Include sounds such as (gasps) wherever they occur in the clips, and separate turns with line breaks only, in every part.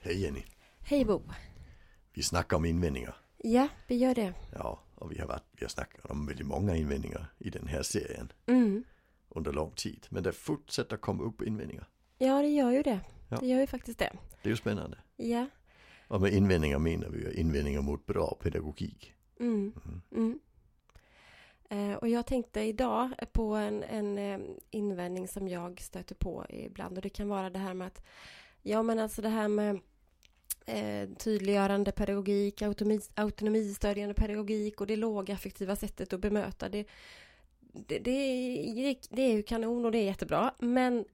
Hej Jenny.
Hej Bo.
Vi snackar om invändningar.
Ja, vi gör det.
Ja, och vi har, varit, vi har snackat om väldigt många invändningar i den här serien
Mm.
under lång tid. Men det fortsätter komma upp invändningar.
Ja, det gör ju det.
Ja.
Det gör ju faktiskt det.
Det är ju spännande.
Ja.
Och med invändningar menar vi ju invändningar mot bra pedagogik.
Mm.
Mm.
Mm. Eh, och jag tänkte idag på en, en eh, invändning som jag stöter på ibland. Och det kan vara det här med att, ja men alltså det här med eh, tydliggörande pedagogik, autonomi, autonomistödjande pedagogik och det lågaffektiva sättet att bemöta. Det, det, det, är, det är ju kanon och det är jättebra. Men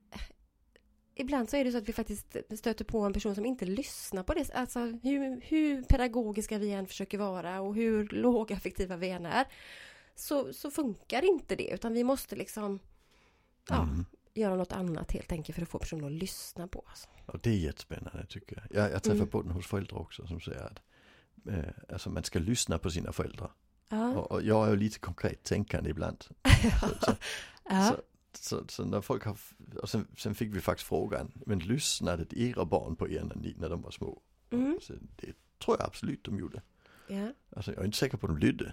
ibland så är det så att vi faktiskt stöter på en person som inte lyssnar på det. Alltså hur, hur pedagogiska vi än försöker vara och hur lågaffektiva vi än är. Så, så funkar inte det utan vi måste liksom ja,
Mm.
göra något annat helt enkelt för att få personen att lyssna på oss.
Och det är jättespännande tycker jag. Jag, jag träffar
Mm.
på den hos föräldrar också som säger att eh, alltså man ska lyssna på sina föräldrar.
Ja,
Och, och jag är ju lite konkret tänkande ibland.
(laughs) ja.
Så, så, så när folk har, f- och sen, sen fick vi faktiskt frågan, men lyssnade era barn på er när, ni, när de var små?
Mm.
Så det tror jag absolut de gjorde.
ja.
Alltså jag är inte säker på att de lydde.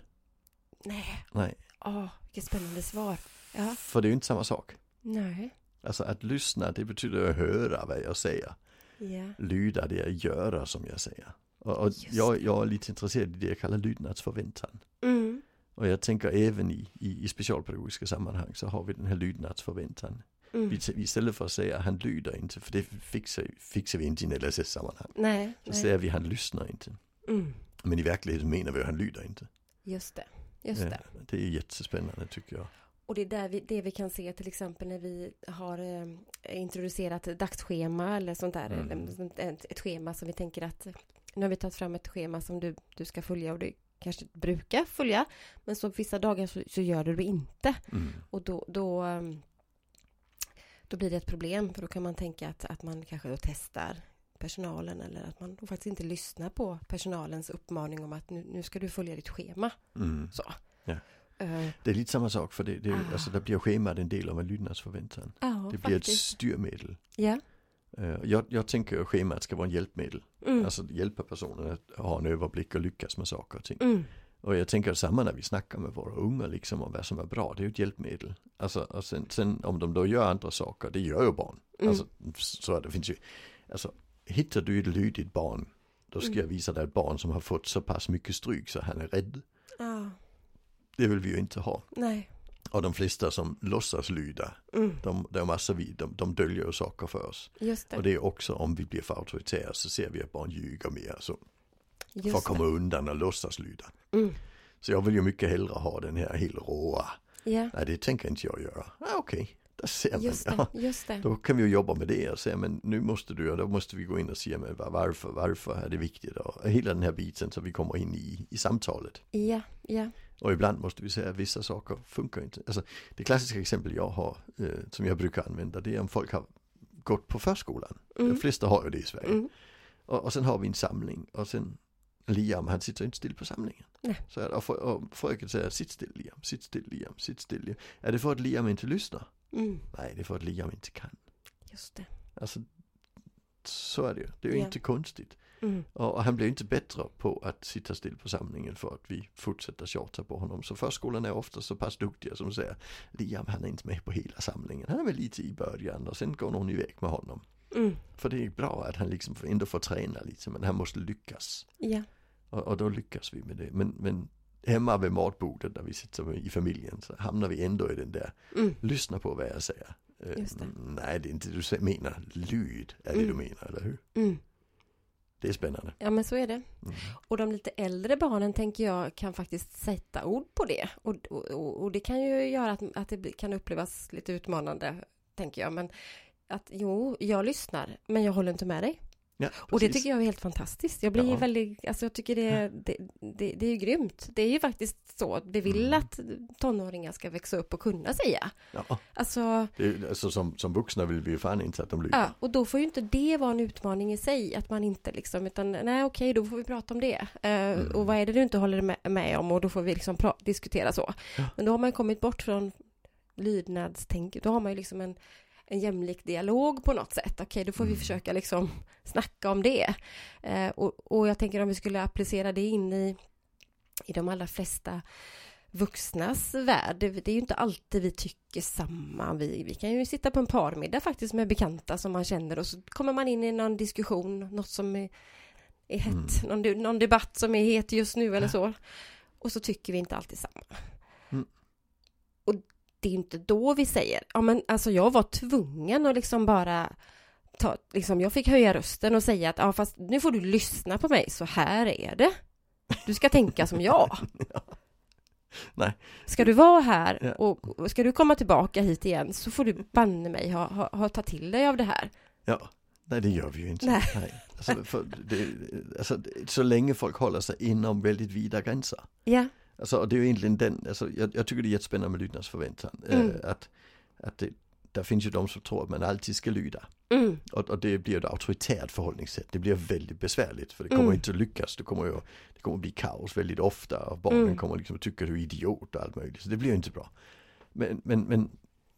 Nej,
Nej,
åh vilket spännande svar. Ja,
för det är ju inte samma sak.
nej.
Alltså att lyssna det betyder att höra vad jag säger.
Ja,
Lyda det är att göra som jag säger. Och, och
Just
jag, jag är lite intresserad i det jag kallar lydnadsförväntan.
mm.
Och jag tänker även i, i, i specialpedagogiska sammanhang så har vi den här lydnadsförväntan.
Mm.
Vi, vi istället för att säga han lyder inte, för det fixar, fixar vi inte i en LSS-sammanhang.
Nej,
Så
nej.
säger vi han lyssnar inte.
Mm.
Men i verkligheten menar vi att han lyder inte.
Just det, just
Ja,
det.
Eh, det är jättespännande tycker jag.
Och det är där vi, det vi kan se till exempel när vi har eh, introducerat dagsschema eller sånt där.
Mm.
Eller sånt- ett, ett schema som vi tänker att eh, nu har vi tagit fram ett schema som du, du ska följa och du kanske brukar följa. Men så vissa dagar så, så gör du det inte.
Mm.
Och då, då, ehm, då blir det ett problem. För då kan man tänka att, att man kanske då testar personalen eller att man då faktiskt inte lyssnar på personalens uppmaning om att nu, nu ska du följa ditt schema.
Mm.
Så.
Ja.
Eh,
Det är lite samma sak för det, det,
Ah.
alltså, där blir schemat en del av en lydnadsförväntan.
ja,
det blir ett
faktiskt.
styrmedel.
Ja.
Eh, Jag, jag tänker att schemat ska vara en hjälpmedel.
Mm.
Alltså hjälpa personen att ha en överblick och lyckas med saker och ting.
Mm.
Och jag tänker samma när vi snackar med våra unga liksom om vad som är bra. Det är ju ett hjälpmedel. Alltså och sen, sen om de då gör andra saker, det gör ju barn.
Mm.
Alltså, så det finns ju, alltså hittar du ett lydigt barn, då ska
Mm.
jag visa dig ett barn som har fått så pass mycket stryk så han är rädd.
Ja,
Det vill vi ju inte ha.
nej.
Och de flesta som låtsas lyda,
Mm.
de, de, alltså vi, de, de döljer ju saker för oss.
Just det.
Och det är också om vi blir för auktoritära så ser vi att barn ljuger mer så,
Just
för att komma undan och låtsas lyda.
det. Mm.
Så jag vill ju mycket hellre ha den här helt råa,
Ja,
nej det tänker inte jag göra. Ah, Okej, där ser man.
just det.
Ja.
Just det.
Då kan vi ju jobba med det och säga men nu måste du, och då måste vi gå in och se men var- varför, varför är det viktigt och hela den här biten så vi kommer in i, i samtalet.
Ja, ja.
Och ibland måste vi säga att vissa saker funkar inte. Alltså, det klassiska exempel jag har, eh, som jag brukar använda, det är om folk har gått på förskolan.
Mm.
De flesta har ju det i Sverige.
Mm.
Och, och sen har vi en samling och sen Liam han sitter inte still på samlingen.
Nej.
Så att, och, frö, och fröken säger sitt still Liam, sitt still Liam, sitt still Liam. Är det för att Liam inte lyssnar?
Mm.
Nej det är för att Liam inte kan.
Just det.
Alltså så är det ju. Det är ju
Ja.
inte konstigt.
Mm.
Och, och han blir ju inte bättre på att sitta still på samlingen för att vi fortsätter tjata på honom. Så förskolan är ofta så pass duktiga som säger Liam han är inte med på hela samlingen. Han är väl lite i början och sen går någon iväg med honom.
Mm.
För det är bra att han liksom ändå får träna lite men han måste lyckas.
Ja,
Och, och då lyckas vi med det. Men, men hemma vid matbordet när vi sitter i familjen så hamnar vi ändå i den där,
mm.
lyssna på vad jag säger. Eh,
Just det.
Nej, det är inte det du sä- menar, lyd är det
Mm.
du menar, eller hur?
Mm.
Det är spännande.
ja, men så är det.
Mm.
Och de lite äldre barnen tänker jag kan faktiskt sätta ord på det. Och, och- och, och det kan ju göra att, att det blir- kan upplevas lite utmanande, tänker jag. Men att jo, jag lyssnar, men jag håller inte med dig.
Ja,
Och det
precis.
tycker jag är helt fantastiskt. Jag blir
Ja.
ju väldigt, alltså jag tycker det, det, det, det är ju grymt. Det är ju faktiskt så att vi vill
Mm.
att tonåringar ska växa upp och kunna säga.
ja,
Alltså,
det är, alltså, som, som vuxna vill vi ju fan inte att de lyder.
ja, och då får ju inte det vara en utmaning i sig, att man inte liksom, utan nej okej, då får vi prata om det. Eh, Och vad är det du inte håller med, med om? Och då får vi liksom pra- diskutera så.
Ja.
Men då har man kommit bort från lydnadstänk, då har man ju liksom en en jämlik dialog på något sätt. Okej, då får vi försöka liksom (laughs) snacka om det. Eh, och, och jag tänker om vi skulle applicera det in i, i de allra flesta vuxnas värld. Det, det är ju inte alltid vi tycker samma. Vi, vi kan ju sitta på en parmiddag faktiskt med bekanta som man känner och så kommer man in i någon diskussion, något som är, är hett, någon, de- någon debatt som är het just nu eller så. Och så tycker vi inte alltid samma.
Mm.
Och det är ju inte då vi säger, ja men alltså jag var tvungen att liksom bara ta, liksom jag fick höja rösten och säga att ja fast nu får du lyssna på mig, så här är det. Du ska tänka
(laughs)
som jag.
Nej.
Ska du vara här
Ja.
och och ska du komma tillbaka hit igen så får du banne mig ha, ha, ha ta till dig av det här.
Ja, nej det gör vi ju inte.
Nej.
Alltså, för det, alltså, det- så länge folk håller sig inom väldigt vida gränser.
Ja,
Alltså, och det är ju egentligen den, alltså, jag, jag tycker det är jättespännande med lydnads förväntan. eh,
Mm.
Att, att det, där finns ju de som tror att man alltid ska lyda.
mm,
Och, och det blir ett auktoritärt förhållningssätt. Det blir väldigt besvärligt för det kommer
Mm.
inte att lyckas. Det kommer, ju, det kommer att bli kaos väldigt ofta och barnen
Mm.
kommer liksom att tycka du är idiot och allt möjligt. Så det blir ju inte bra. Men, men, men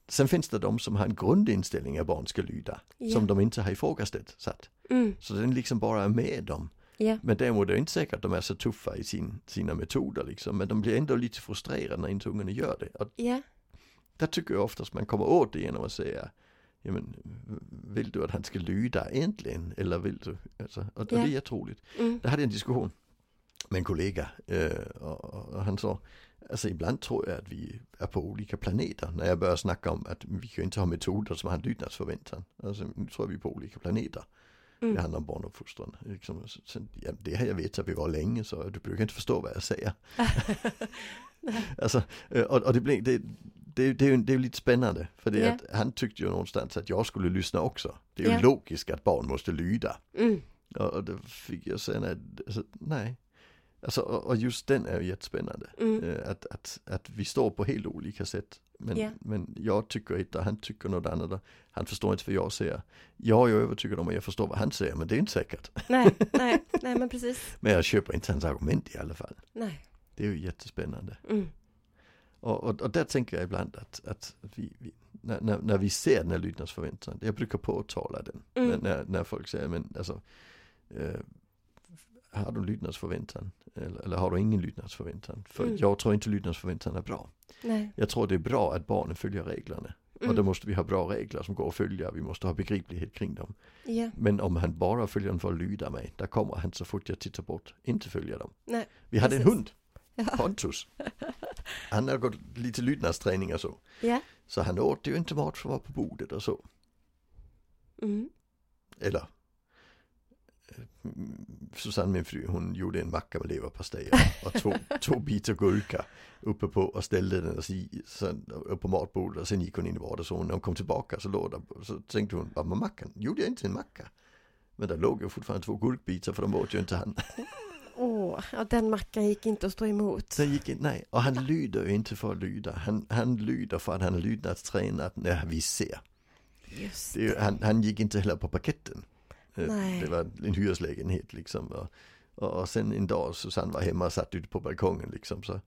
sen finns det de som har en grundinställning att barn ska lyda.
Ja.
Som de inte har ifrågasatt. Så att-
mm,
så den liksom bara är med dem.
ja,
Men däremot är det inte säkert att de är så tuffa i sin, sina metoder liksom. Men de blir ändå lite frustrerade när inte ungarna gör det. Och
ja,
där tycker jag oftast man kommer åt det genom att säga Ja, men vill du att han ska lyda egentligen? Eller vill du? Alltså, och, och
Ja.
det är otroligt.
mm,
Där hade jag en diskussion med en kollega eh, och, och, och han sa Alltså ibland tror jag att vi är på olika planeter när jag börjar snacka om att vi kan ju inte ha metoder som har en lydnadsförväntan. Alltså nu tror jag vi är på olika planeter. Det
mm,
handlar om barnuppfostran. Liksom, så- så- ja, det har jag vetat vi var länge så du brukar inte förstå vad jag säger. alltså, eh, och, och det, blir, det, det, det, är ju, det är ju lite spännande. För det är
Ja.
att han tyckte ju någonstans att jag skulle lyssna också. Det är ju
Ja.
logiskt att barn måste lyda.
(laughs) mm,
Och, och då fick jag säga nej. Alltså, nej. Alltså, och, och just den är ju jättespännande.
mm,
Eh, Att, att, att vi står på helt olika sätt. Men,
Ja.
men jag tycker ett och han tycker något annat. Han förstår inte vad jag säger. Jag är övertygad om att jag förstår vad han säger men det är inte säkert.
nej, nej, nej, men precis,
(laughs) Men jag köper inte hans argument i alla fall.
nej,
Det är ju jättespännande.
mm,
Och, och, och där tänker jag ibland att, att vi, vi, när, när, när vi ser den här lydnadsförväntan, jag brukar påtala den.
Mm.
När, när, när folk säger, men alltså, eh, har du lydnadsförväntan? Eller, eller har du ingen lydnadsförväntan? För
Mm.
jag tror inte lydnadsförväntan är bra.
nej,
Jag tror det är bra att barnen följer reglerna. Och då
mm,
måste vi ha bra regler som går att följa, vi måste ha begriplighet kring dem.
ja,
Men om han bara följer dem för att lyda mig, där kommer han så fort jag tittar bort, inte följa dem.
Nej,
vi hade
precis.
en hund,
ja, (laughs)
Pontus. Han har gått lite lydnadsträning och så.
ja,
Så han åt ju inte mat som var på bordet och så.
mm,
Eller eh, Susanne, min fru, hon gjorde en macka med leverpastej och- och två, två bitar gurka uppe på och ställde den och så, sen, upp på matbordet och sen gick hon in i vardagsrummet. När hon kom tillbaka så låg där, så tänkte hon, vad med mackan? Gjorde jag inte en macka? Men där låg ju fortfarande två gurkbitar för de åt ju inte han.
åh, ja, den mackan gick inte att stå emot.
Sen gick in, nej, och han lyder ju inte för att lyda. Han, han lyder för att han är lydnadstränad när vi ser.
Just
Det är, ju- han, han gick inte heller på parketten. Eh,
Nej.
Det var en hyreslägenhet liksom. Och, och, och sen en dag Susanne var hemma och satt ute på balkongen liksom så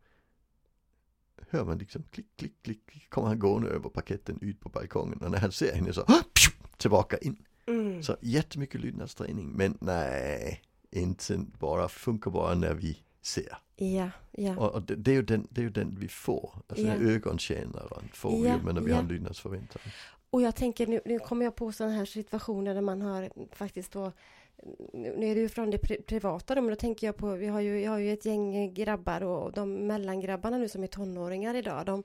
hör man liksom klick, klick, klick, klick kommer han gående över parketten ut på balkongen och när han ser henne så (gasps) ah, pju, tillbaka in.
Mm.
Så jättemycket lydnadsträning men nej, inte bara, funkar bara när vi ser.
Ja, ja,
Och, och det, det, är ju den, det är ju den vi får, alltså den
Ja.
ögontjänaren får vi
Ja,
ju men när vi
ja.
har en lydnadsförväntan.
och jag tänker nu, nu kommer jag på sådana här situationer där man har faktiskt då nu nu är det ju från det pri- privata då, men då tänker jag på, vi har ju, jag har ju ett gäng grabbar och och de mellangrabbarna nu som är tonåringar idag, de,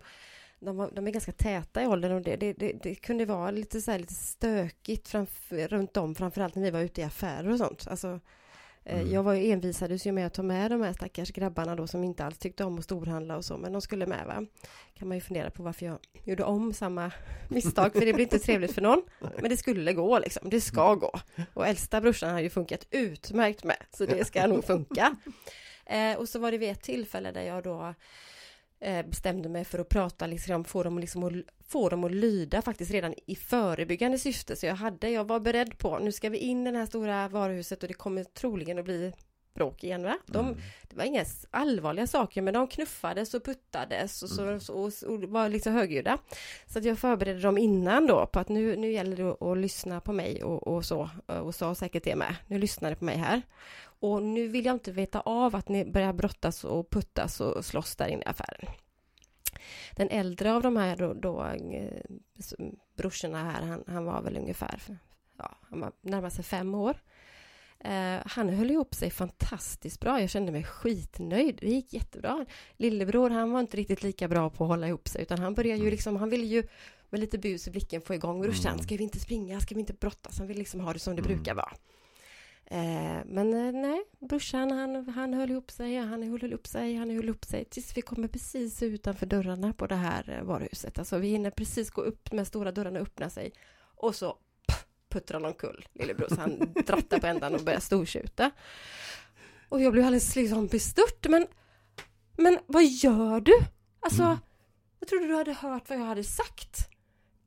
de, var, de är ganska täta i åldern och det, det, det, det kunde vara lite så här lite stökigt framför, runt om, framförallt när vi var ute i affärer och sånt. Alltså, eh,
Mm.
Jag var ju envisades ju med att ta med de här stackars grabbarna då som inte alls tyckte om att storhandla och så, men de skulle med va. Kan man ju fundera på varför jag gjorde om samma (laughs) misstag, för det blir inte trevligt för någon. Men det skulle gå liksom, det ska gå. Och äldsta brorsan har ju funkat utmärkt med, så det ska nog funka. Eh, och så var det vid ett tillfälle där jag då eh, bestämde mig för att prata, liksom, få, dem liksom att, få dem att lyda faktiskt redan i förebyggande syfte. Så jag hade, jag var beredd på, nu ska vi in i det här stora varuhuset och det kommer troligen att bli bråk igen va? De,
Mm.
Det var inga s- allvarliga saker men de knuffades och puttades och, så, och, och, och var liksom högljudda. Så att jag förberedde dem innan då på att nu, nu gäller det att, att lyssna på mig och, och så. Och sa säkert det med. Nu lyssnar ni på mig här. Och nu vill jag inte veta av att ni börjar brottas och puttas och slåss där inne i affären. Den äldre av de här då, då eh, s- brorsorna här, han, han var väl ungefär, ja, han var närmare sig fem år. Eh, han höll ihop sig fantastiskt bra. Jag kände mig skitnöjd. Det gick jättebra. Lillebror, han var inte riktigt lika bra på att hålla ihop sig, utan han började ju liksom, han ville ju med lite bus i blicken få igång brorsan.
Mm.
Ska vi inte springa? Ska vi inte brottas? Han vill liksom ha det som det
Mm.
brukar vara. Eh, men eh, nej, brorsan han, han höll ihop sig, han höll ihop sig, han höll ihop sig tills vi kommer precis utanför dörrarna på det här eh, varuhuset. Alltså vi hinner precis gå upp med stora dörrarna öppna sig och så pff, puttrar han omkull lillebror så
(laughs)
han drattar på ändan och börjar stortjuta. Och jag blev alldeles liksom bestört, men, men vad gör du? Alltså,
Mm.
jag trodde du hade hört vad jag hade sagt.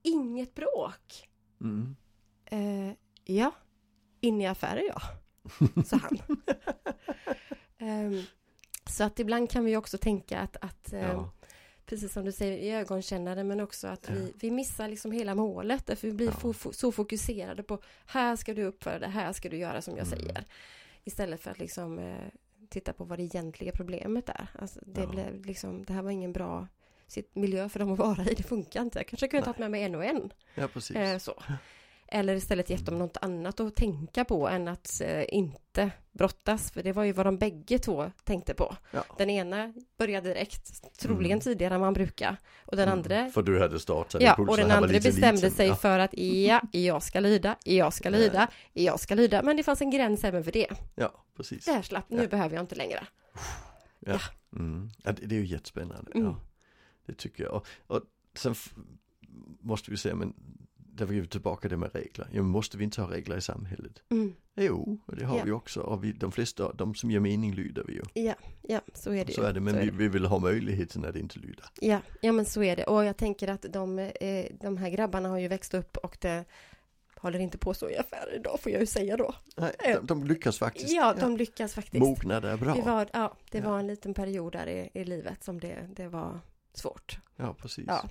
Inget bråk.
Mm.
Eh, ja, inne i affärer ja, sa
(laughs)
han. Ehm, så att ibland kan vi också tänka att, att ehm,
Ja.
precis som du säger, i ögonkännare men också att
Ja.
vi, vi missar liksom hela målet därför vi blir
Ja.
fo- fo- så fokuserade på här ska du uppföra dig, här ska du göra som jag
Mm.
säger. Istället för att liksom eh, titta på vad det egentliga problemet är. Alltså, det,
Ja.
blev liksom, det här var ingen bra sitt miljö för dem att vara i, det funkar inte. Jag kanske kunde
Nej.
tagit med mig en och en.
ja, precis.
Eh, så. Eller istället gett dem något annat att tänka på än att eh, inte brottas. För det var ju vad de bägge två tänkte på.
Ja.
Den ena började direkt, troligen
Mm.
tidigare än man brukar. Och den
Mm.
andra
För du hade startat
Ja,
impulsen,
och den
han var
andra
lite
bestämde
liten.
sig
Ja.
för att ja, jag ska lyda, jag ska
Ja.
lyda, jag ska lyda. Men det fanns en gräns även för det.
ja, precis.
Där slapp, nu
Ja.
behöver jag inte längre.
Mm. Ja, det, det är ju jättespännande.
Mm.
Ja, det tycker jag. Och, och sen f- måste vi säga, men där vi är tillbaka det med regler. Ja, men måste vi inte ha regler i samhället?
Mm.
Jo, och det har
Ja.
vi också. Och vi, de flesta, de som ger mening lyder vi ju.
Ja, så är det ju.
Så är det, men
Så är
vi, vi vill ha möjligheten att inte lyda.
Ja, ja men så är det. Och jag tänker att de, eh, de här grabbarna har ju växt upp och det håller inte på så i affärer idag får jag ju säga då.
Nej,
Eh,
de, de lyckas faktiskt.
Ja, de lyckas faktiskt.
Mognad är bra.
Det var, ja, det
Ja.
var en liten period där i, i livet som det, det var svårt.
Ja, precis.
Ja.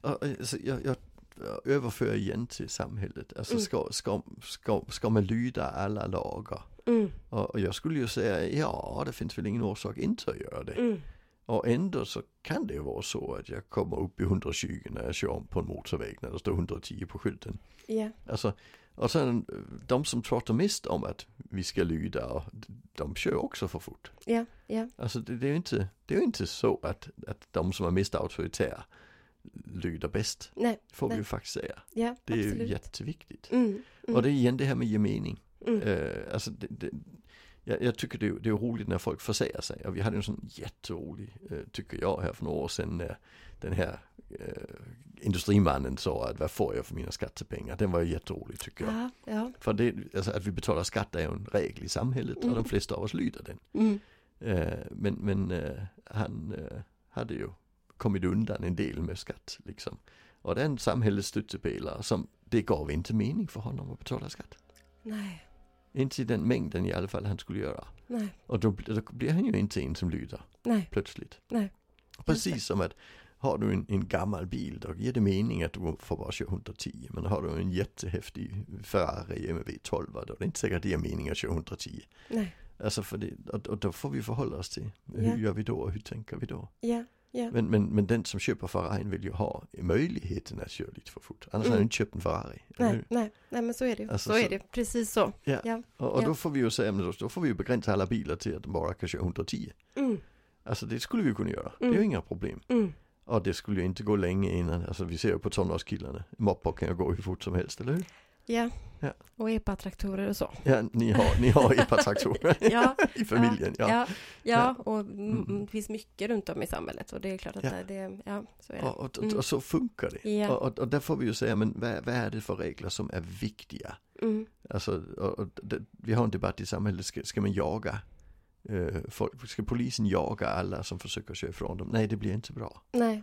Och, eh, så jag, jag jag överför igen till samhället. Alltså
Mm.
ska, ska, ska, ska man lyda alla lagar?
Mm,
Och, och jag skulle ju säga, ja det finns väl ingen orsak inte att göra det.
mm,
Och ändå så kan det ju vara så att jag kommer upp i 120 när jag kör om på en motorväg när det står 110 på skylten.
ja,
Alltså, och sen eh, de som pratar mest om att vi ska lyda, och d- de kör också för fort.
ja, ja,
Alltså det, det är ju inte, det är ju inte så att, att de som är mest auktoritära lyder bäst,
nej,
får vi
Nej.
ju faktiskt säga.
ja,
Det är
absolut.
ju jätteviktigt.
Mm, mm,
Och det är igen det här med gemening.
mm,
Eh, alltså det, det, jag, jag tycker det är, det är roligt när folk försäger sig. Och vi hade en sån jätterolig, eh, tycker jag, här för några år sedan när den här eh, industrimannen sa att vad får jag för mina skattepengar? Den var ju jätterolig tycker jag.
ja, ja,
För det, alltså, att vi betalar skatt är ju en regel i samhället och de
Mm.
flesta av oss lyder den.
mm,
Eh, men men eh, han eh, hade ju kommit undan en del med skatt liksom. Och den samhällets stöttepelare som det gav inte mening för honom att betala skatt.
nej,
Inte i den mängden i alla fall han skulle göra.
nej,
Och då, bl- då blir han ju inte en som lyder
nej,
plötsligt.
Nej.
Precis som att har du en, en gammal bil då ger det mening att du får bara köra 110. Men har du en jättehäftig Ferrari med V12 då är det inte säkert att det ger mening att köra 110.
nej,
Alltså för det, och, och då får vi förhålla oss till hur
Ja.
gör vi då och hur tänker vi då.
ja, ja,
Men, men, men den som köper Ferrarin vill ju ha möjligheten att köra lite för fort. Annars har han
Mm.
inte köpt en Ferrari. eller hur?
nej, nej, nej, men så är det ju.
Alltså,
Så
så-
är det, precis så.
Och, och
Ja.
då får vi ju säga, men då, då får vi ju begränsa alla bilar till att de bara kan köra 110.
Mm,
Alltså det skulle vi kunna göra, det är
Mm.
ju inga problem.
mm,
Och det skulle ju inte gå länge innan, alltså vi ser ju på tonårskillarna, moppar kan ju gå hur fort som helst, eller hur?
ja.
Ja.
Och epatraktorer
(laughs)
och så.
Ja, ni har, ni har
(laughs)
epatraktorer
Ja,
i familjen, ja.
Ja, ja, och
Mm.
mm. det finns mycket runt om i samhället och det är klart att
Ja.
det- det, ja, så är det.
Och, och, och, och så funkar det.
Mm. Ja.
Och, och, och där får vi ju säga, men vad, vad är det för regler som är viktiga?
Mm.
Alltså, och, och, det, vi har en debatt i samhället, ska, ska man jaga? eh, folk, ska polisen jaga alla som försöker köra ifrån dem? Nej, det blir inte bra.
Nej,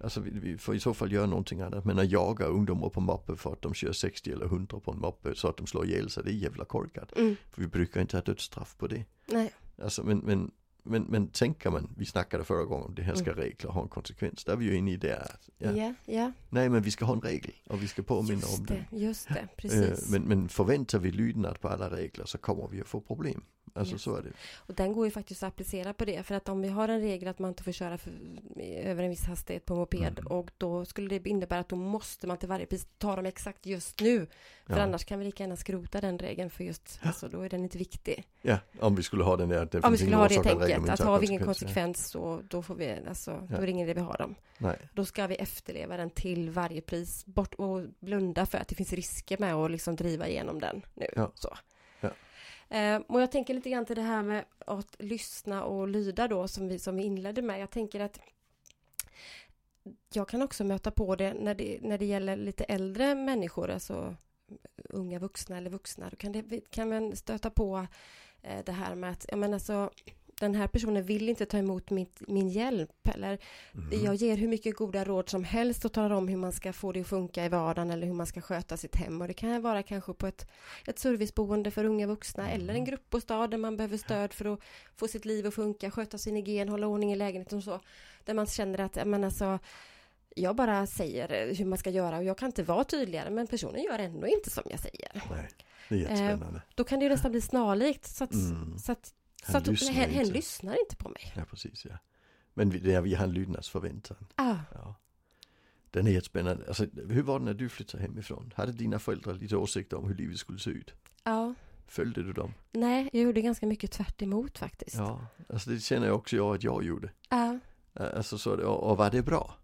Alltså vi, vi får i så fall göra någonting annat. Men att jaga ungdomar på moppe för att de kör 60 eller 100 på en moppe så att de slår ihjäl sig, det är jävla korkat.
mm.
För vi brukar inte ha dödsstraff på det.
nej,
Alltså men, men, men, men tänker man, vi snackade förra gången, det här ska
Mm.
regler ha en konsekvens. Där är vi ju inne i det att, ja,
Ja, ja,
nej men vi ska ha en regel och vi ska påminna om
just
den.
det, just det,
Eh,
precis.
Men, men förväntar vi lydnad på alla regler så kommer vi att få problem. Alltså
Yes.
så är det.
Och den går ju faktiskt att applicera på det. För att om vi har en regel att man inte får köra för, över en viss hastighet på moped.
Mm.
Och då skulle det innebära att då måste man till varje pris ta dem exakt just nu. För
Ja.
annars kan vi lika gärna skrota den regeln. För just, alltså, då är den inte viktig.
Ja, om vi skulle ha den där. att Det
Om vi
finns
skulle
ingen
ha det
orsak regel,
tänket.
men
Att
tar
har vi ingen
konsekvenser.
konsekvens så då får vi, alltså, då
Ja.
är det ingen idé vi har dem.
Nej,
Då ska vi efterleva den till varje pris. Bort och blunda för att det finns risker med att liksom driva igenom den nu.
Ja.
Så.
Ja.
Eh, och jag tänker lite grann till det här med att lyssna och lyda då som vi, som vi inledde med. Jag tänker att jag kan också möta på det när det, när det gäller lite äldre människor, alltså unga vuxna eller vuxna. Då kan, det, kan man stöta på eh, det här med att, ja men alltså, den här personen vill inte ta emot mitt, min hjälp eller
Mm.
jag ger hur mycket goda råd som helst och talar om hur man ska få det att funka i vardagen eller hur man ska sköta sitt hem. Och det kan vara kanske på ett, ett serviceboende för unga vuxna eller en gruppbostad där man behöver stöd för att få sitt liv att funka, sköta sin hygien, hålla ordning i lägenheten och så. Där man känner att, ja, men alltså, jag bara säger eh, hur man ska göra och jag kan inte vara tydligare men personen gör ändå inte som jag säger.
nej, det är jättespännande.
Då kan det ju nästan bli snarlikt så att,
Mm.
så att, så
Han
att
lyssnar
hen, hen
inte.
lyssnar inte på mig.
Ja, precis ja. Men vi, det är, vi har en lydnadsförväntan.
Ah,
Ja. Den är jättespännande. Alltså, hur var det när du flyttade hemifrån? Hade dina föräldrar lite åsikter om hur livet skulle se ut?
ja.
Följde du dem?
Nej, jag gjorde ganska mycket tvärt emot faktiskt.
Ja, alltså det känner jag också jag att jag gjorde.
Ja,
Alltså så, är det. och, och var det bra?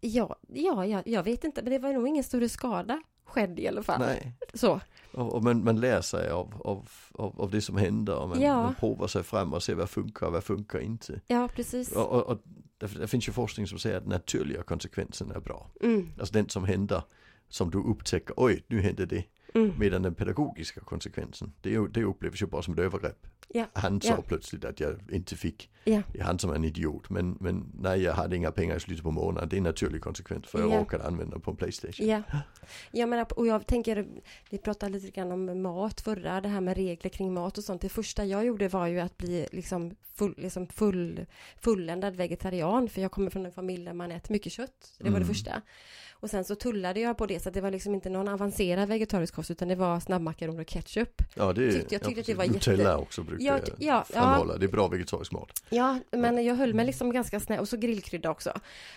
ja, ja, ja, jag vet inte, men det var nog ingen större skada skedde i alla fall.
Nej.
Så,
Och, och man, man lär sig av, av, av, av det som händer och man,
Ja.
man provar sig fram och ser vad funkar och vad funkar inte.
ja precis.
Och, och, och det, det finns ju forskning som säger att naturliga konsekvensen är bra.
Mm,
Alltså den som händer som du upptäcker, oj nu hände det.
mm,
Medan den pedagogiska konsekvensen, det, är ju, det upplevs ju bara som ett övergrepp.
Ja.
Han sa
Ja.
plötsligt att jag inte fick,
ja,
det är han som är en idiot. Men, men nej jag hade inga pengar i slutet på månaden, det är en naturlig konsekvens för jag
Ja.
råkade använda dem på en Playstation.
ja. Jag menar, och jag tänker, vi pratade lite grann om mat förra, det här med regler kring mat och sånt. Det första jag gjorde var ju att bli liksom, full, liksom full, fulländad vegetarian, för jag kommer från en familj där man äter mycket kött. Det var det
Mm.
första. Och sen så tullade jag på det, så att det var liksom inte någon avancerad vegetarisk kost, utan det var snabbmakaroner och ketchup.
Ja, det,
Tyckte- jag tyckte att det var jätte-
Nutella också brukar
Ja,
jag
ty- ja, ja.
framhålla, det är bra vegetarisk mat.
Ja, men jag höll mig liksom ganska snäll och så grillkrydda också.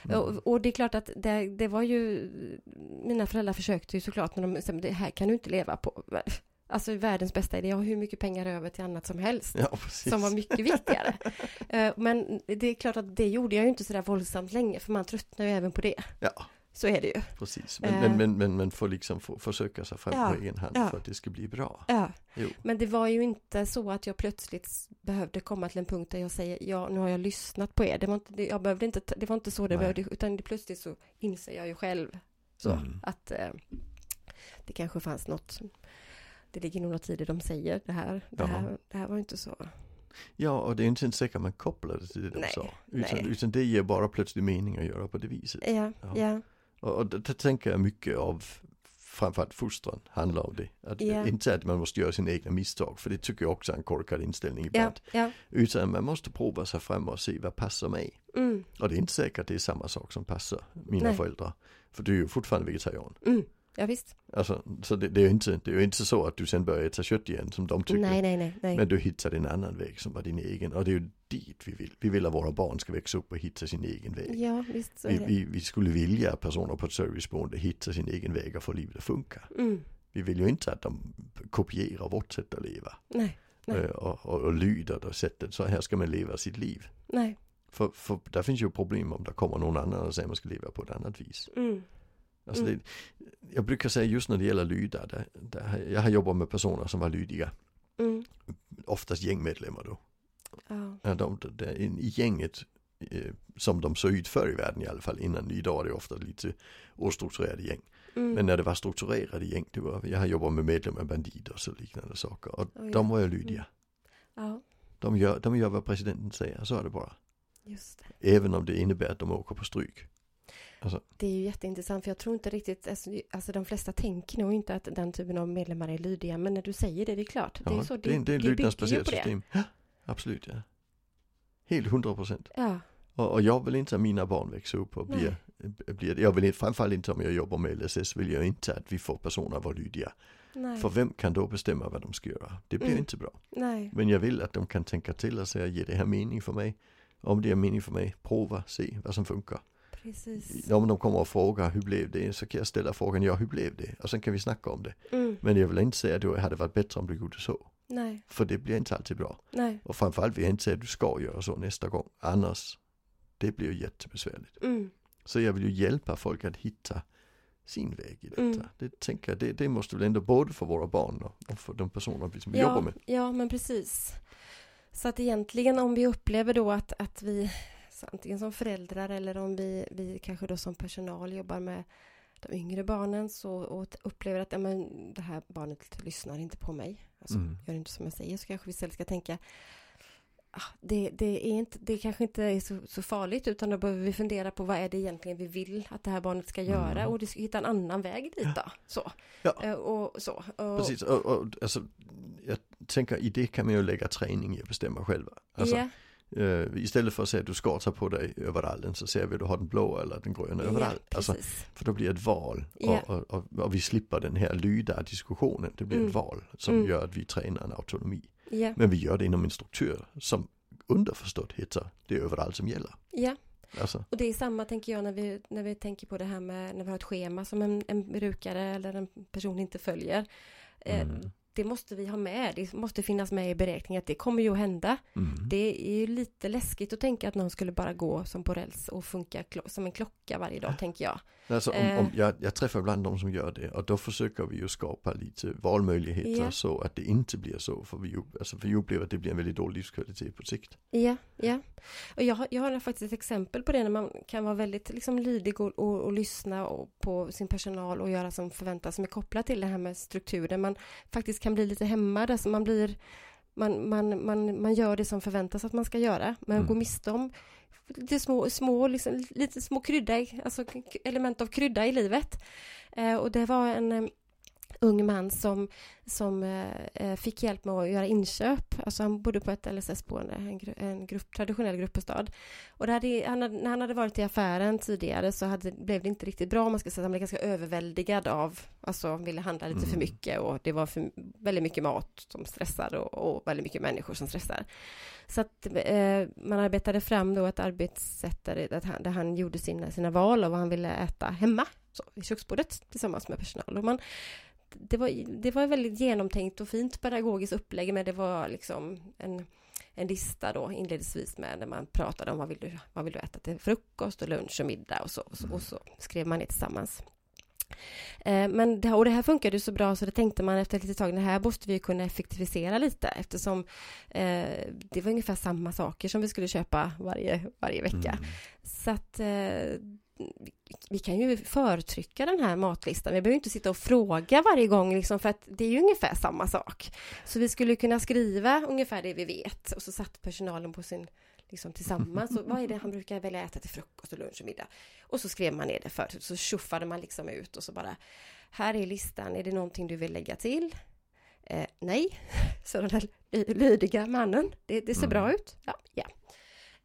Mm.
Mm.
Och, och det är klart att det, det var ju, mina föräldrar försökte ju såklart när de sa, "Men det här kan du inte leva på. (laughs) Alltså världens bästa idé, jag har hur mycket pengar över till annat som helst.
Ja, precis.
Som var
(laughs)
mycket viktigare. Eh, Men det är klart att det gjorde jag ju inte sådär våldsamt länge, för man tröttnar ju även på det.
Ja,
Så är det ju.
precis. Men,
Eh.
men, men, men man får liksom få, försöka sig fram
Ja,
på egen hand
ja.
för att det ska bli bra.
Ja.
Jo.
Men det var ju inte så att jag plötsligt s- behövde komma till en punkt där jag säger ja, nu har jag lyssnat på er. Det var inte, det- jag behövde inte, ta- det var inte så det
Nej.
behövde, utan det plötsligt så inser jag ju själv så
Mm.
att eh, det kanske fanns något. Det ligger nog något i det de säger. Det här, det
Ja.
här, det här var ju inte så.
Ja, och det är inte ens säkert man kopplar det till det de
Nej,
sa. Utan,
nej.
utan det ger bara plötsligt mening att göra på det viset.
Ja,
Ja.
ja, ja,
Och, och det, det tänker jag mycket av framförallt fostran handlar om det. Att,
Ja.
Inte att man måste göra sina egna misstag, för det tycker jag också är en korkad inställning
ja,
ibland. Utan man måste prova sig fram och se vad passar mig.
Mm,
Och det är inte säkert det är samma sak som passar mina
Nej.
föräldrar. För du är ju fortfarande vegetarian.
mm, ja visst.
Alltså, så det, det, är ju inte, det är ju inte så att du sen börjar äta kött igen som de tycker.
Nej, nej, nej, nej.
Men du hittar en annan väg som var din egen. Och det är ju dit vi vill. Vi vill att våra barn ska växa upp och hitta sin egen väg.
ja, visst så är
vi,
det.
vi, vi skulle vilja att personer på ett serviceboende hittar sin egen väg och får livet att funka.
Mm,
Vi vill ju inte att de kopierar vårt sätt att leva.
nej, Nej.
eh, Och, och, och lyder det sättet. Så här ska man leva sitt liv.
nej.
För, för där finns ju problem om det kommer någon annan och säger att man ska leva på ett annat vis.
Mm,
Alltså
Mm.
det, jag brukar säga just när det gäller lyda, där, där, jag har jobbat med personer som var lydiga,
mm,
oftast gängmedlemmar då.
ja,
Ja, De, de, de, I gänget eh, som de såg ut förr i världen i alla fall, innan idag är det ofta lite ostrukturerade gäng.
mm.
Men när det var strukturerade gäng, det var, jag har jobbat med medlemmar, bandider och så liknande saker. Och
Oj.
de var ju lydiga.
ja,
De gör, de gör vad presidenten säger, så är det bara.
just det.
Även om det innebär att de åker på stryk. Alltså.
Det är ju jätteintressant för jag tror inte riktigt, alltså, alltså de flesta tänker nog inte att den typen av medlemmar är lydiga men när du säger det, det är klart. det är
Ja,
ju så,
det, är- det är
bygger ju
lydnadsbaserat
på det.
system. Ja, absolut, ja. Helt 100 procent.
Ja,
Och, och jag vill inte att mina barn växer upp och blir, blir det. Jag vill inte, framförallt inte om jag jobbar med LSS vill jag inte att vi får personer att vara lydiga.
nej,
För vem kan då bestämma vad de ska göra? Det blir
Mm.
inte bra.
nej,
Men jag vill att de kan tänka till och säga, ger det här mening för mig? Om det är mening för mig, prova, se vad som funkar.
precis.
Om de kommer och frågar, hur blev det? Så kan jag ställa frågan, ja hur blev det? Och sen kan vi snacka om det.
Mm,
Men jag vill inte säga att det hade varit bättre om du gjorde så.
nej,
För det blir inte alltid bra.
nej,
Och framförallt vill jag inte säga att du ska göra så nästa gång. Annars, det blir ju jättebesvärligt.
mm,
Så jag vill ju hjälpa folk att hitta sin väg i detta.
Mm.
Det, tänker jag, det, det måste väl ändå både för våra barn och och för de personer vi som vi jobbar med.
Ja, men precis. Så att egentligen om vi upplever då att, att vi så antingen som föräldrar eller om vi, vi kanske då som personal jobbar med de yngre barnen så och t- upplever att ja, men, det här barnet lyssnar inte på mig. Alltså,
Mm.
Gör inte som jag säger så kanske vi istället ska tänka ah, det, det, är inte, det kanske inte är så, så farligt utan då behöver vi fundera på vad är det egentligen vi vill att det här barnet ska göra
Mm.
och det ska hitta en annan väg dit då. Så.
Ja.
Eh, Och, så. Och,
Precis, och, och alltså, jag tänker i det kan man ju lägga träning i att bestämma själva. Alltså,
Ja,
eh, istället för att säga att du ska ta på dig överallen så säger vi att du har den blå eller den gröna
ja,
överallt. Alltså,
precis.
för då blir det ett val
Ja.
och, och, och, och vi slipper den här lyda diskussionen. Det blir
Mm.
ett val som
Mm.
gör att vi tränar en autonomi.
Ja,
Men vi gör det inom en struktur som underförstått heter det är överallt som gäller.
ja.
Alltså,
Och det är samma tänker jag när vi, när vi tänker på det här med när vi har ett schema som en, en brukare eller en person inte följer. Eh,
Mm.
Det måste vi ha med, det måste finnas med i beräkningen att det kommer ju att hända.
mm.
Det är ju lite läskigt att tänka att någon skulle bara gå som på räls och funka klo- som en klocka varje dag tänker jag.
alltså om,
eh,
om jag, jag träffar ibland de som gör det och då försöker vi ju skapa lite valmöjligheter
Ja.
så att det inte blir så. För vi, ju- alltså, för vi upplever att det blir en väldigt dålig livskvalitet på sikt.
Ja, ja. Och jag, har- jag har faktiskt ett exempel på det när man kan vara väldigt liksom, lydig och, och, och lyssna och, på sin personal och göra som förväntas som är kopplat till det här med strukturen. Man faktiskt kan bli lite hämmad, alltså man blir man, man, man, man gör det som förväntas att man ska göra, men
Mm.
går miste om lite små, små, liksom, lite små krydda, i- alltså k- element av krydda i livet. Eh, och det var en eh, ung man som, som eh, eh, fick hjälp med att göra inköp. Alltså han bodde på ett LSS-boende, en, gru- en grupp, traditionell gruppbostad. Och det hade, han hade, när han hade varit i affären tidigare så hade, blev det inte riktigt bra om man ska säga. att Han blev ganska överväldigad av, alltså han ville handla lite för
Mm.
mycket och det var för, väldigt mycket mat som stressar och, och väldigt mycket människor som stressar. Så att eh, man arbetade fram då ett arbetssätt där, där, han, där han gjorde sina, sina val av vad han ville äta hemma så, i köksbordet tillsammans med personal. Och man, det, var, det var väldigt genomtänkt och fint pedagogiskt upplägg men det var liksom en, en lista då inledningsvis med när man pratade om vad vill du, vad vill du äta till frukost och lunch och middag och så, och så, och så skrev man det tillsammans. Eh, Men det, här- och det här funkade ju så bra så det tänkte man efter ett litet tag, det här måste vi ju kunna effektivisera lite eftersom eh, det var ungefär samma saker som vi skulle köpa varje, varje vecka.
Mm.
Så att eh, vi kan ju förtrycka den här matlistan. Vi behöver inte sitta och fråga varje gång liksom, för att det är ju ungefär samma sak. Så vi skulle kunna skriva ungefär det vi vet och så satt personalen på sin liksom tillsammans. Och vad är det han brukar välja äta till frukost och lunch och middag? Och så skrev man ner det förut. Så tjoffade man liksom ut och så bara här är listan. Är det någonting du vill lägga till? Eh, nej, (laughs) sa den där ly- lydiga mannen. Det, det ser
Mm.
bra ut. Ja, ja.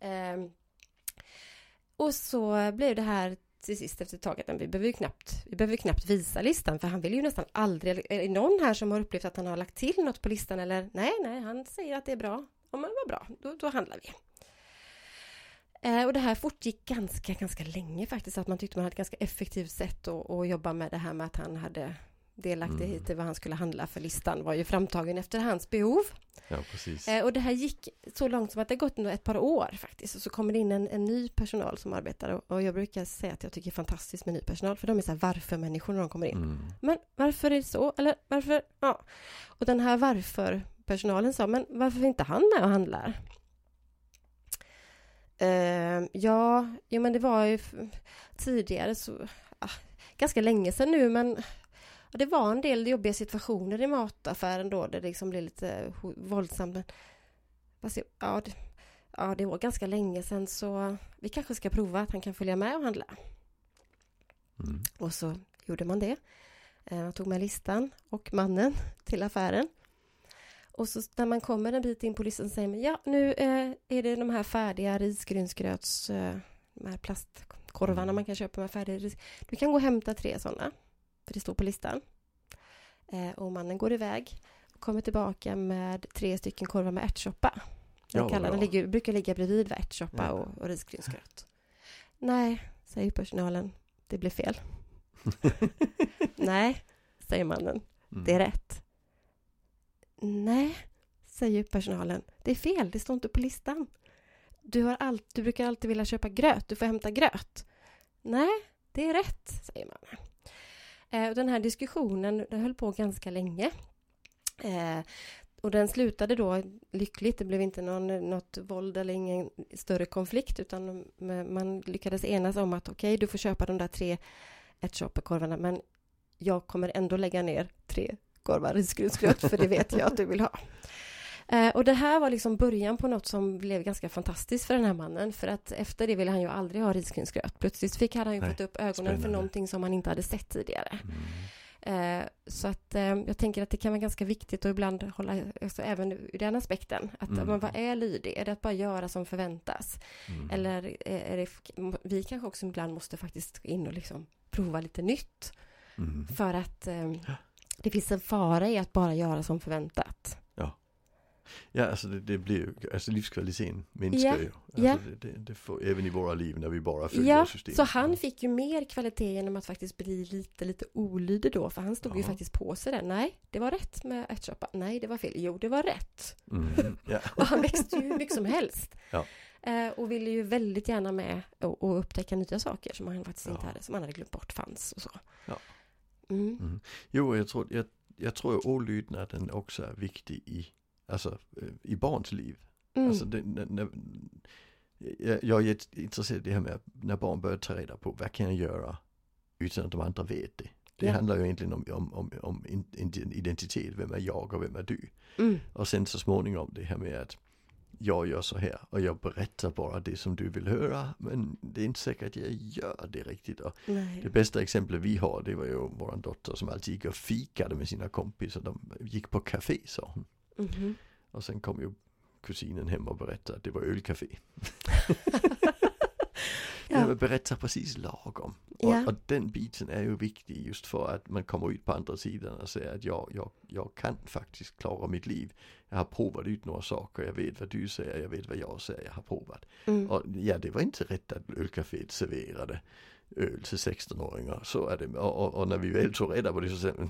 Ehm, och så blev det här till sist efter ett tag att men vi behöver ju knappt, vi behöver ju knappt visa listan för han vill ju nästan aldrig, är det någon här som har upplevt att han har lagt till något på listan eller nej, nej, han säger att det är bra. Ja, men vad bra, då, då handlar vi. Eh, och det här fortgick ganska, ganska länge faktiskt, att man tyckte man hade ett ganska effektivt sätt att, att jobba med det här med att han hade delaktighet i vad han skulle handla för listan var ju framtagen efter hans behov.
Ja, precis.
Eh, och det här gick så långt som att det gått nog ett par år faktiskt. Och så kommer det in en, en ny personal som arbetar. Och, och jag brukar säga att jag tycker det är fantastiskt med ny personal. För de är så här varför-människor när de kommer in.
Mm.
Men varför är det så? Eller varför? Ja. Och den här varför-personalen sa, men varför är inte han med och handlar? Ehm, ja, jo, men det var ju f- tidigare så, ah, ganska länge sedan nu, men ja, det var en del jobbiga situationer i mataffären då, där det liksom blev lite ho- våldsamt. Men, fast, jag- ja, det, ja, det var ganska länge sedan, så vi kanske ska prova att han kan följa med och handla.
Mm.
Och så gjorde man det. Eh, Man tog med listan och mannen (laughs) till affären. Och så när man kommer en bit in på listan säger man ja, nu eh, är det de här färdiga risgrynsgröts, eh, de här plastkorvarna
Mm.
man kan köpa med färdiga ris. Du kan gå och hämta tre sådana, för det står på listan. Eh, och mannen går iväg och kommer tillbaka med tre stycken korvar med ärtsoppa.
Ja,
Den
vad
kallar,
bra.
den ligger, brukar ligga bredvid vad ärtsoppa
Ja.
och, och risgrynsgröt. Nej, säger personalen, det blev fel. Nej, säger mannen.
Mm.
Det är rätt. Nej, säger personalen. Det är fel, det står inte på listan. Du, har all, du brukar alltid vilja köpa gröt, du får hämta gröt. Nej, det är rätt, säger man. Eh, och den här diskussionen den höll på ganska länge. Eh, och den slutade då lyckligt, det blev inte någon, något våld eller ingen större konflikt utan m- man lyckades enas om att okej, du får köpa de där tre ärtsoppekorvarna men jag kommer ändå lägga ner tre korvar risgrynsgröt för det vet jag att du vill ha. Eh, och det här var liksom början på något som blev ganska fantastiskt för den här mannen för att efter det ville han ju aldrig ha risgrynsgröt. Plötsligt fick hade han ju
Nej,
fått upp ögonen för
spännande.
någonting som han inte hade sett tidigare.
Mm.
Eh, så att eh, jag tänker att det kan vara ganska viktigt att ibland hålla, alltså, även ur den aspekten, att
Mm.
men vad är lydig? Är det att bara göra som förväntas?
Mm.
Eller är är det, vi kanske också ibland måste faktiskt in och liksom prova lite nytt
Mm.
för att eh, det finns en fara i att bara göra som förväntat.
Ja, alltså det, det blir ju, alltså livskvaliteten minskar
Ja,
ju. Alltså
ja.
det, det, det får, även i våra liv när vi bara följer
Ja,
systemet.
så han fick ju mer kvalitet genom att faktiskt bli lite, lite olydig då, för han stod ju
Ja.
faktiskt på sig där. Nej, det var rätt med ärtsoppa. Nej, det var fel. Jo, det var rätt.
Mm. Ja.
Och (laughs) han växte ju hur mycket som helst.
Ja.
Eh, och ville ju väldigt gärna med och, och upptäcka nya saker som han faktiskt inte
Ja.
hade, som han hade glömt bort fanns och så.
Ja.
Mm.
Mm. Jo, jag tror, jag, jag tror att olydnaden också är viktig i, alltså, eh, i barns liv.
Mm.
Alltså det, när, när, jag- jag är jätteintresserad av det här med att när barn börjar ta reda på vad kan jag göra utan att de andra vet det. Det
Ja.
handlar ju egentligen om, om, om, om in- in- identitet, vem är jag och vem är du?
Mm.
Och sen så småningom det här med att jag gör så här och jag berättar bara det som du vill höra men det är inte säkert att jag gör det riktigt. Och det
Nej.
bästa exemplet vi har det var ju vår dotter som alltid gick och fikade med sina kompisar. De gick på café sa hon.
Mhm.
Och sen kom ju kusinen hem och berättade att det var ölcafé. Ja.
ja.
men Berätta precis lagom. Och,
Ja.
och den biten är ju viktig just för att man kommer ut på andra sidan och säger att jag, jag, jag kan faktiskt klara mitt liv. Jag har provat ut några saker, jag vet vad du säger, jag vet vad jag säger, jag har provat.
Mm.
Och ja, det var inte rätt att ölcaféet serverade öl till 16-åringar, så är det. Och, och, och när vi väl tog reda på det så sa jag,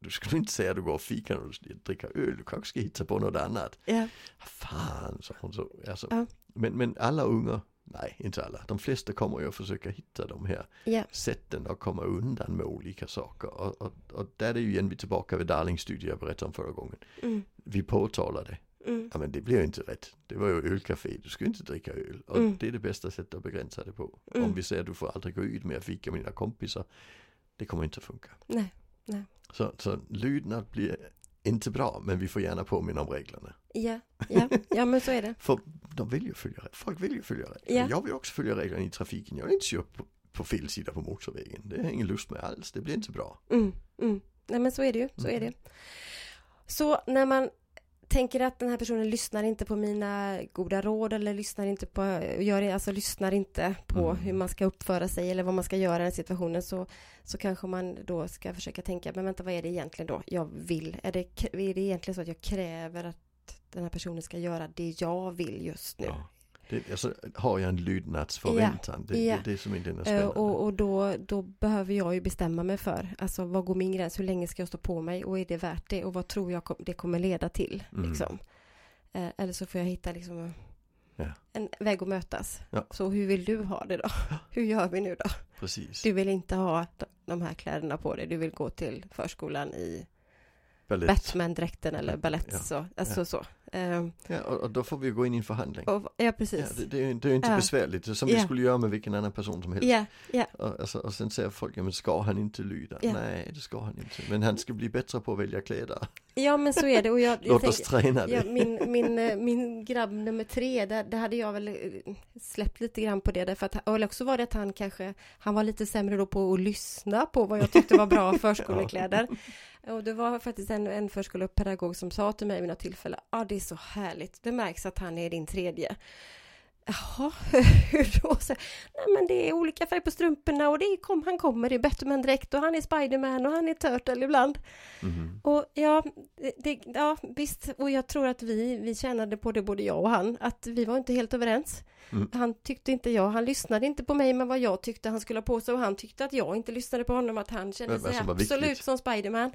du skulle inte säga att du går och fikar och dricker öl, du kanske ska hitta på något annat.
ja.
Fan, sa hon så. Alltså,
Ja.
men, men alla unga, nej inte alla, de flesta kommer ju att försöka hitta de här
Ja.
sätten att komma undan med olika saker. Och, och, och där är ju igen vi tillbaka vid Darlings studie jag berättade om förra gången.
Mm.
Vi påtalade,
Mm.
ja men det blev ju inte rätt. Det var ju ölcafé, du ska ju inte dricka öl. Och
Mm.
det är det bästa sättet att begränsa det på.
Mm.
Om vi säger du får aldrig gå ut med att fika med dina kompisar, det kommer inte att funka.
Nej.
Så, så lydnad blir inte bra, men vi får gärna påminna om reglerna.
Ja. Ja. ja, men så är det.
För de vill ju följa, folk vill ju följa reglerna.
Ja.
Jag vill också följa reglerna i trafiken. Jag vill inte köra på, på fel sida på motorvägen. Det har jag ingen lust med alls. Det blir inte bra.
Mm. Mm. Nej, men så är det ju. Så är det. Så när man tänker att den här personen lyssnar inte på mina goda råd eller lyssnar inte på, gör, alltså lyssnar inte på
Mm.
hur man ska uppföra sig eller vad man ska göra i den situationen så, så kanske man då ska försöka tänka, men vänta vad är det egentligen då jag vill? Är det, är det egentligen så att jag kräver att den här personen ska göra det jag vill just nu?
Det, alltså, har jag en lydnadsförväntan? Det,
Ja.
det är det som inte är
Eh,
spännande.
Och, och då, då behöver jag ju bestämma mig för, alltså vad går min gräns, hur länge ska jag stå på mig och är det värt det och vad tror jag kom- det kommer leda till?
Mm.
Liksom. Eh, Eller så får jag hitta liksom,
Ja.
en väg att mötas.
Ja.
Så hur vill du ha det då? (laughs) Hur gör vi nu då?
Precis.
Du vill inte ha de- de här kläderna på dig, du vill gå till förskolan i
Balett.
Batman-dräkten eller balett.
Ja.
Så, alltså så. Eh,
Ja, och, och då får vi gå in i en förhandling.
och, ja,
Ja,
precis.
det, det, är ju- det är ju inte
Ja.
besvärligt, det är som vi
Ja.
skulle göra med vilken annan person som helst.
Ja, ja,
Och, alltså, och sen säger folk, ja, men ska han inte lyda?
Ja.
Nej, det ska han inte. Men han ska bli bättre på att välja kläder.
ja, men så är det. Och jag,
(laughs)
jag
Låt oss
tänker-
träna det.
Ja, min, min, eh, min grabb nummer tre, där, där hade jag väl eh, släppt lite grann på det. Därför att, eller också var det att han kanske, han var lite sämre då på att lyssna på vad jag tyckte var bra förskolekläder. Och det var faktiskt en, en förskolepedagog som sa till mig vid något tillfälle, ja ah, det är så härligt, det märks att han är din tredje. Jaha, (laughs) hur då? Så, Nej men det är olika färg på strumporna och det är, kom, han kommer i Batman-dräkt och han är Spiderman och han är Turtle ibland.
Mhm.
Och ja, det- det, ja, visst, och jag tror att vi, vi tjänade på det både jag och han, att vi var inte helt överens.
Mm.
Han tyckte inte jag, han lyssnade inte på mig med vad jag tyckte han skulle ha på sig och han tyckte att jag inte lyssnade på honom, att han kände
Men vad
sig
som var Mm.
absolut
viktigt.
som Spiderman.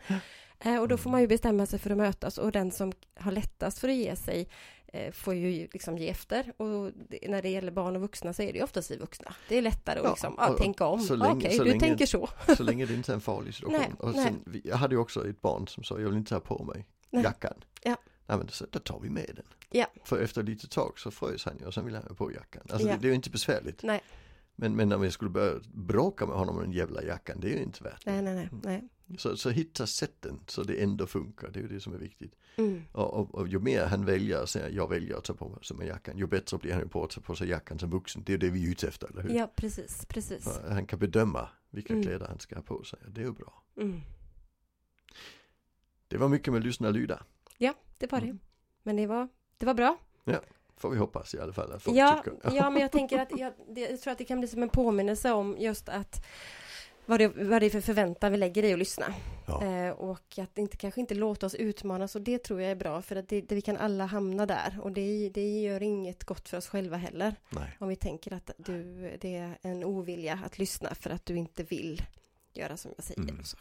Eh, och då får man ju bestämma sig för att mötas och den som har lättast för att ge sig eh, får ju liksom ge efter. Och det, när det gäller barn och vuxna så är det ju oftast vi vuxna. Det är lättare att
Ja,
liksom, ja,
och- och
tänka om.
så
Ja,
länge-
Okej,
så
du
länge-
tänker så.
Så länge det inte är en farlig situation.
Nej,
och sen, vi, jag hade ju också ett barn som sa, jag vill inte ha på mig
Nej.
jackan.
Ja.
Nej men så, då tar vi med den.
Ja.
För efter lite tag så frös han ju och sen ville han ha på jackan. Alltså
Ja.
det, det är ju inte besvärligt.
Nej.
Men, men om jag skulle börja bråka med honom om den jävla jackan, det är ju inte värt det.
Nej, nej, nej. nej.
Så, så hitta sätten så det ändå funkar, det är ju det som är viktigt.
Mm.
Och, och, och ju mer han väljer att säga, jag väljer att ta på mig som en jackan, ju bättre blir han ju på att ta på sig jackan som vuxen. Det är ju det vi är ute efter, eller hur?
Ja, precis, precis.
För han kan bedöma vilka
Mm.
kläder han ska ha på sig, och det är ju bra.
Mm.
Det var mycket med lyssna och lyda.
Det var det.
Mm.
Men det var, det var bra.
Får vi hoppas i alla fall att folk
Ja,
tycker. (laughs)
ja, men jag tänker att jag, det, jag tror att det kan bli som en påminnelse om just att vad det, vad det är för förväntan vi lägger i att lyssna.
Ja.
Eh, och att inte, kanske inte låta oss utmanas och det tror jag är bra för att det, det, vi kan alla hamna där och det, det gör inget gott för oss själva heller.
Nej.
Om vi tänker att du, det är en ovilja att lyssna för att du inte vill göra som jag säger.
Mm.
och Så.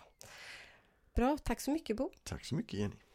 Bra, tack så mycket Bo.
Tack så mycket Jenny.